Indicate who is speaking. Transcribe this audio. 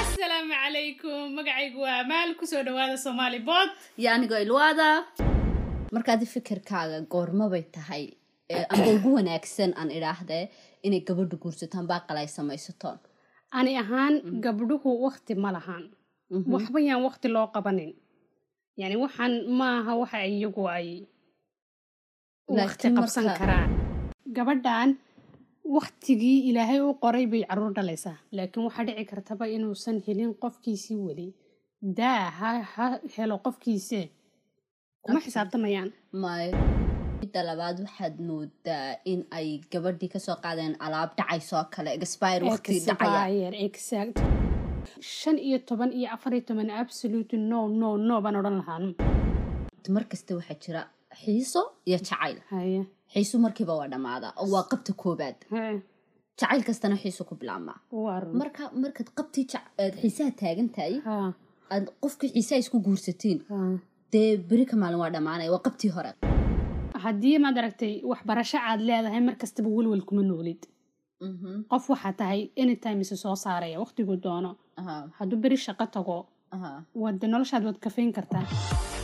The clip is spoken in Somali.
Speaker 1: asalaamu calaykum magacaygu waa maal kusoo dhawaada somaali bod
Speaker 2: yo anigoo ilwaada markaadi fikirkaaga goormabay tahay ee amba ugu wanaagsan aan idhaahdee inay gabadhu guursataan baaqala ay samaysaton
Speaker 1: ani ahaan gabdhuhu wakti ma lahaan
Speaker 2: Mhm.
Speaker 1: waxba yaan wakti loo qabanin yani waxaan maaha waxa iyagu ay wakti
Speaker 2: Laakiin
Speaker 1: qabsan
Speaker 2: marka-
Speaker 1: karaan gabadhan waktigii ilaahay u qoray bay caruur dhalaysaa laakiin waxaa dhici kartaba inuusan helin qofkiisii weli daa ha, ha helo qofkiisee kuma xisaabtamayaan
Speaker 2: mayo midda labaad waxaad moodaa in ay gabadhii kasoo qaadeen alaab dhacayso oo kale expire waqti dhacaya
Speaker 1: Expire, exact. shan iyo toban iyo afar iyo toban absolute no no no baan odhan lahaan
Speaker 2: mar kasta waxaa jira xiiso iyo jacayl
Speaker 1: haye
Speaker 2: xiiso markiiba waa dhammaadaa oo waa qabta koobaad
Speaker 1: hee,
Speaker 2: jacayl kastana xiiso ku bilaabmaa
Speaker 1: waa run
Speaker 2: marka markaad qabtii jac- aad xiisaha taagan tahay
Speaker 1: Ha,
Speaker 2: aad qofka xiisaha isku guursatiin
Speaker 1: ha.
Speaker 2: dee beri ka maalin waa dhammaanaya waa qabtii hore
Speaker 1: haddii maad aragtay waxbarasho aad leedahay mar kastaba welwel kuma noolid
Speaker 2: Mhm,
Speaker 1: qof waxaa tahay anytime isu soo saaraya waqtiguu doono
Speaker 2: aha,
Speaker 1: hadduu beri shaqo tago
Speaker 2: aha.
Speaker 1: waad noloshaad waad kafayn kartaa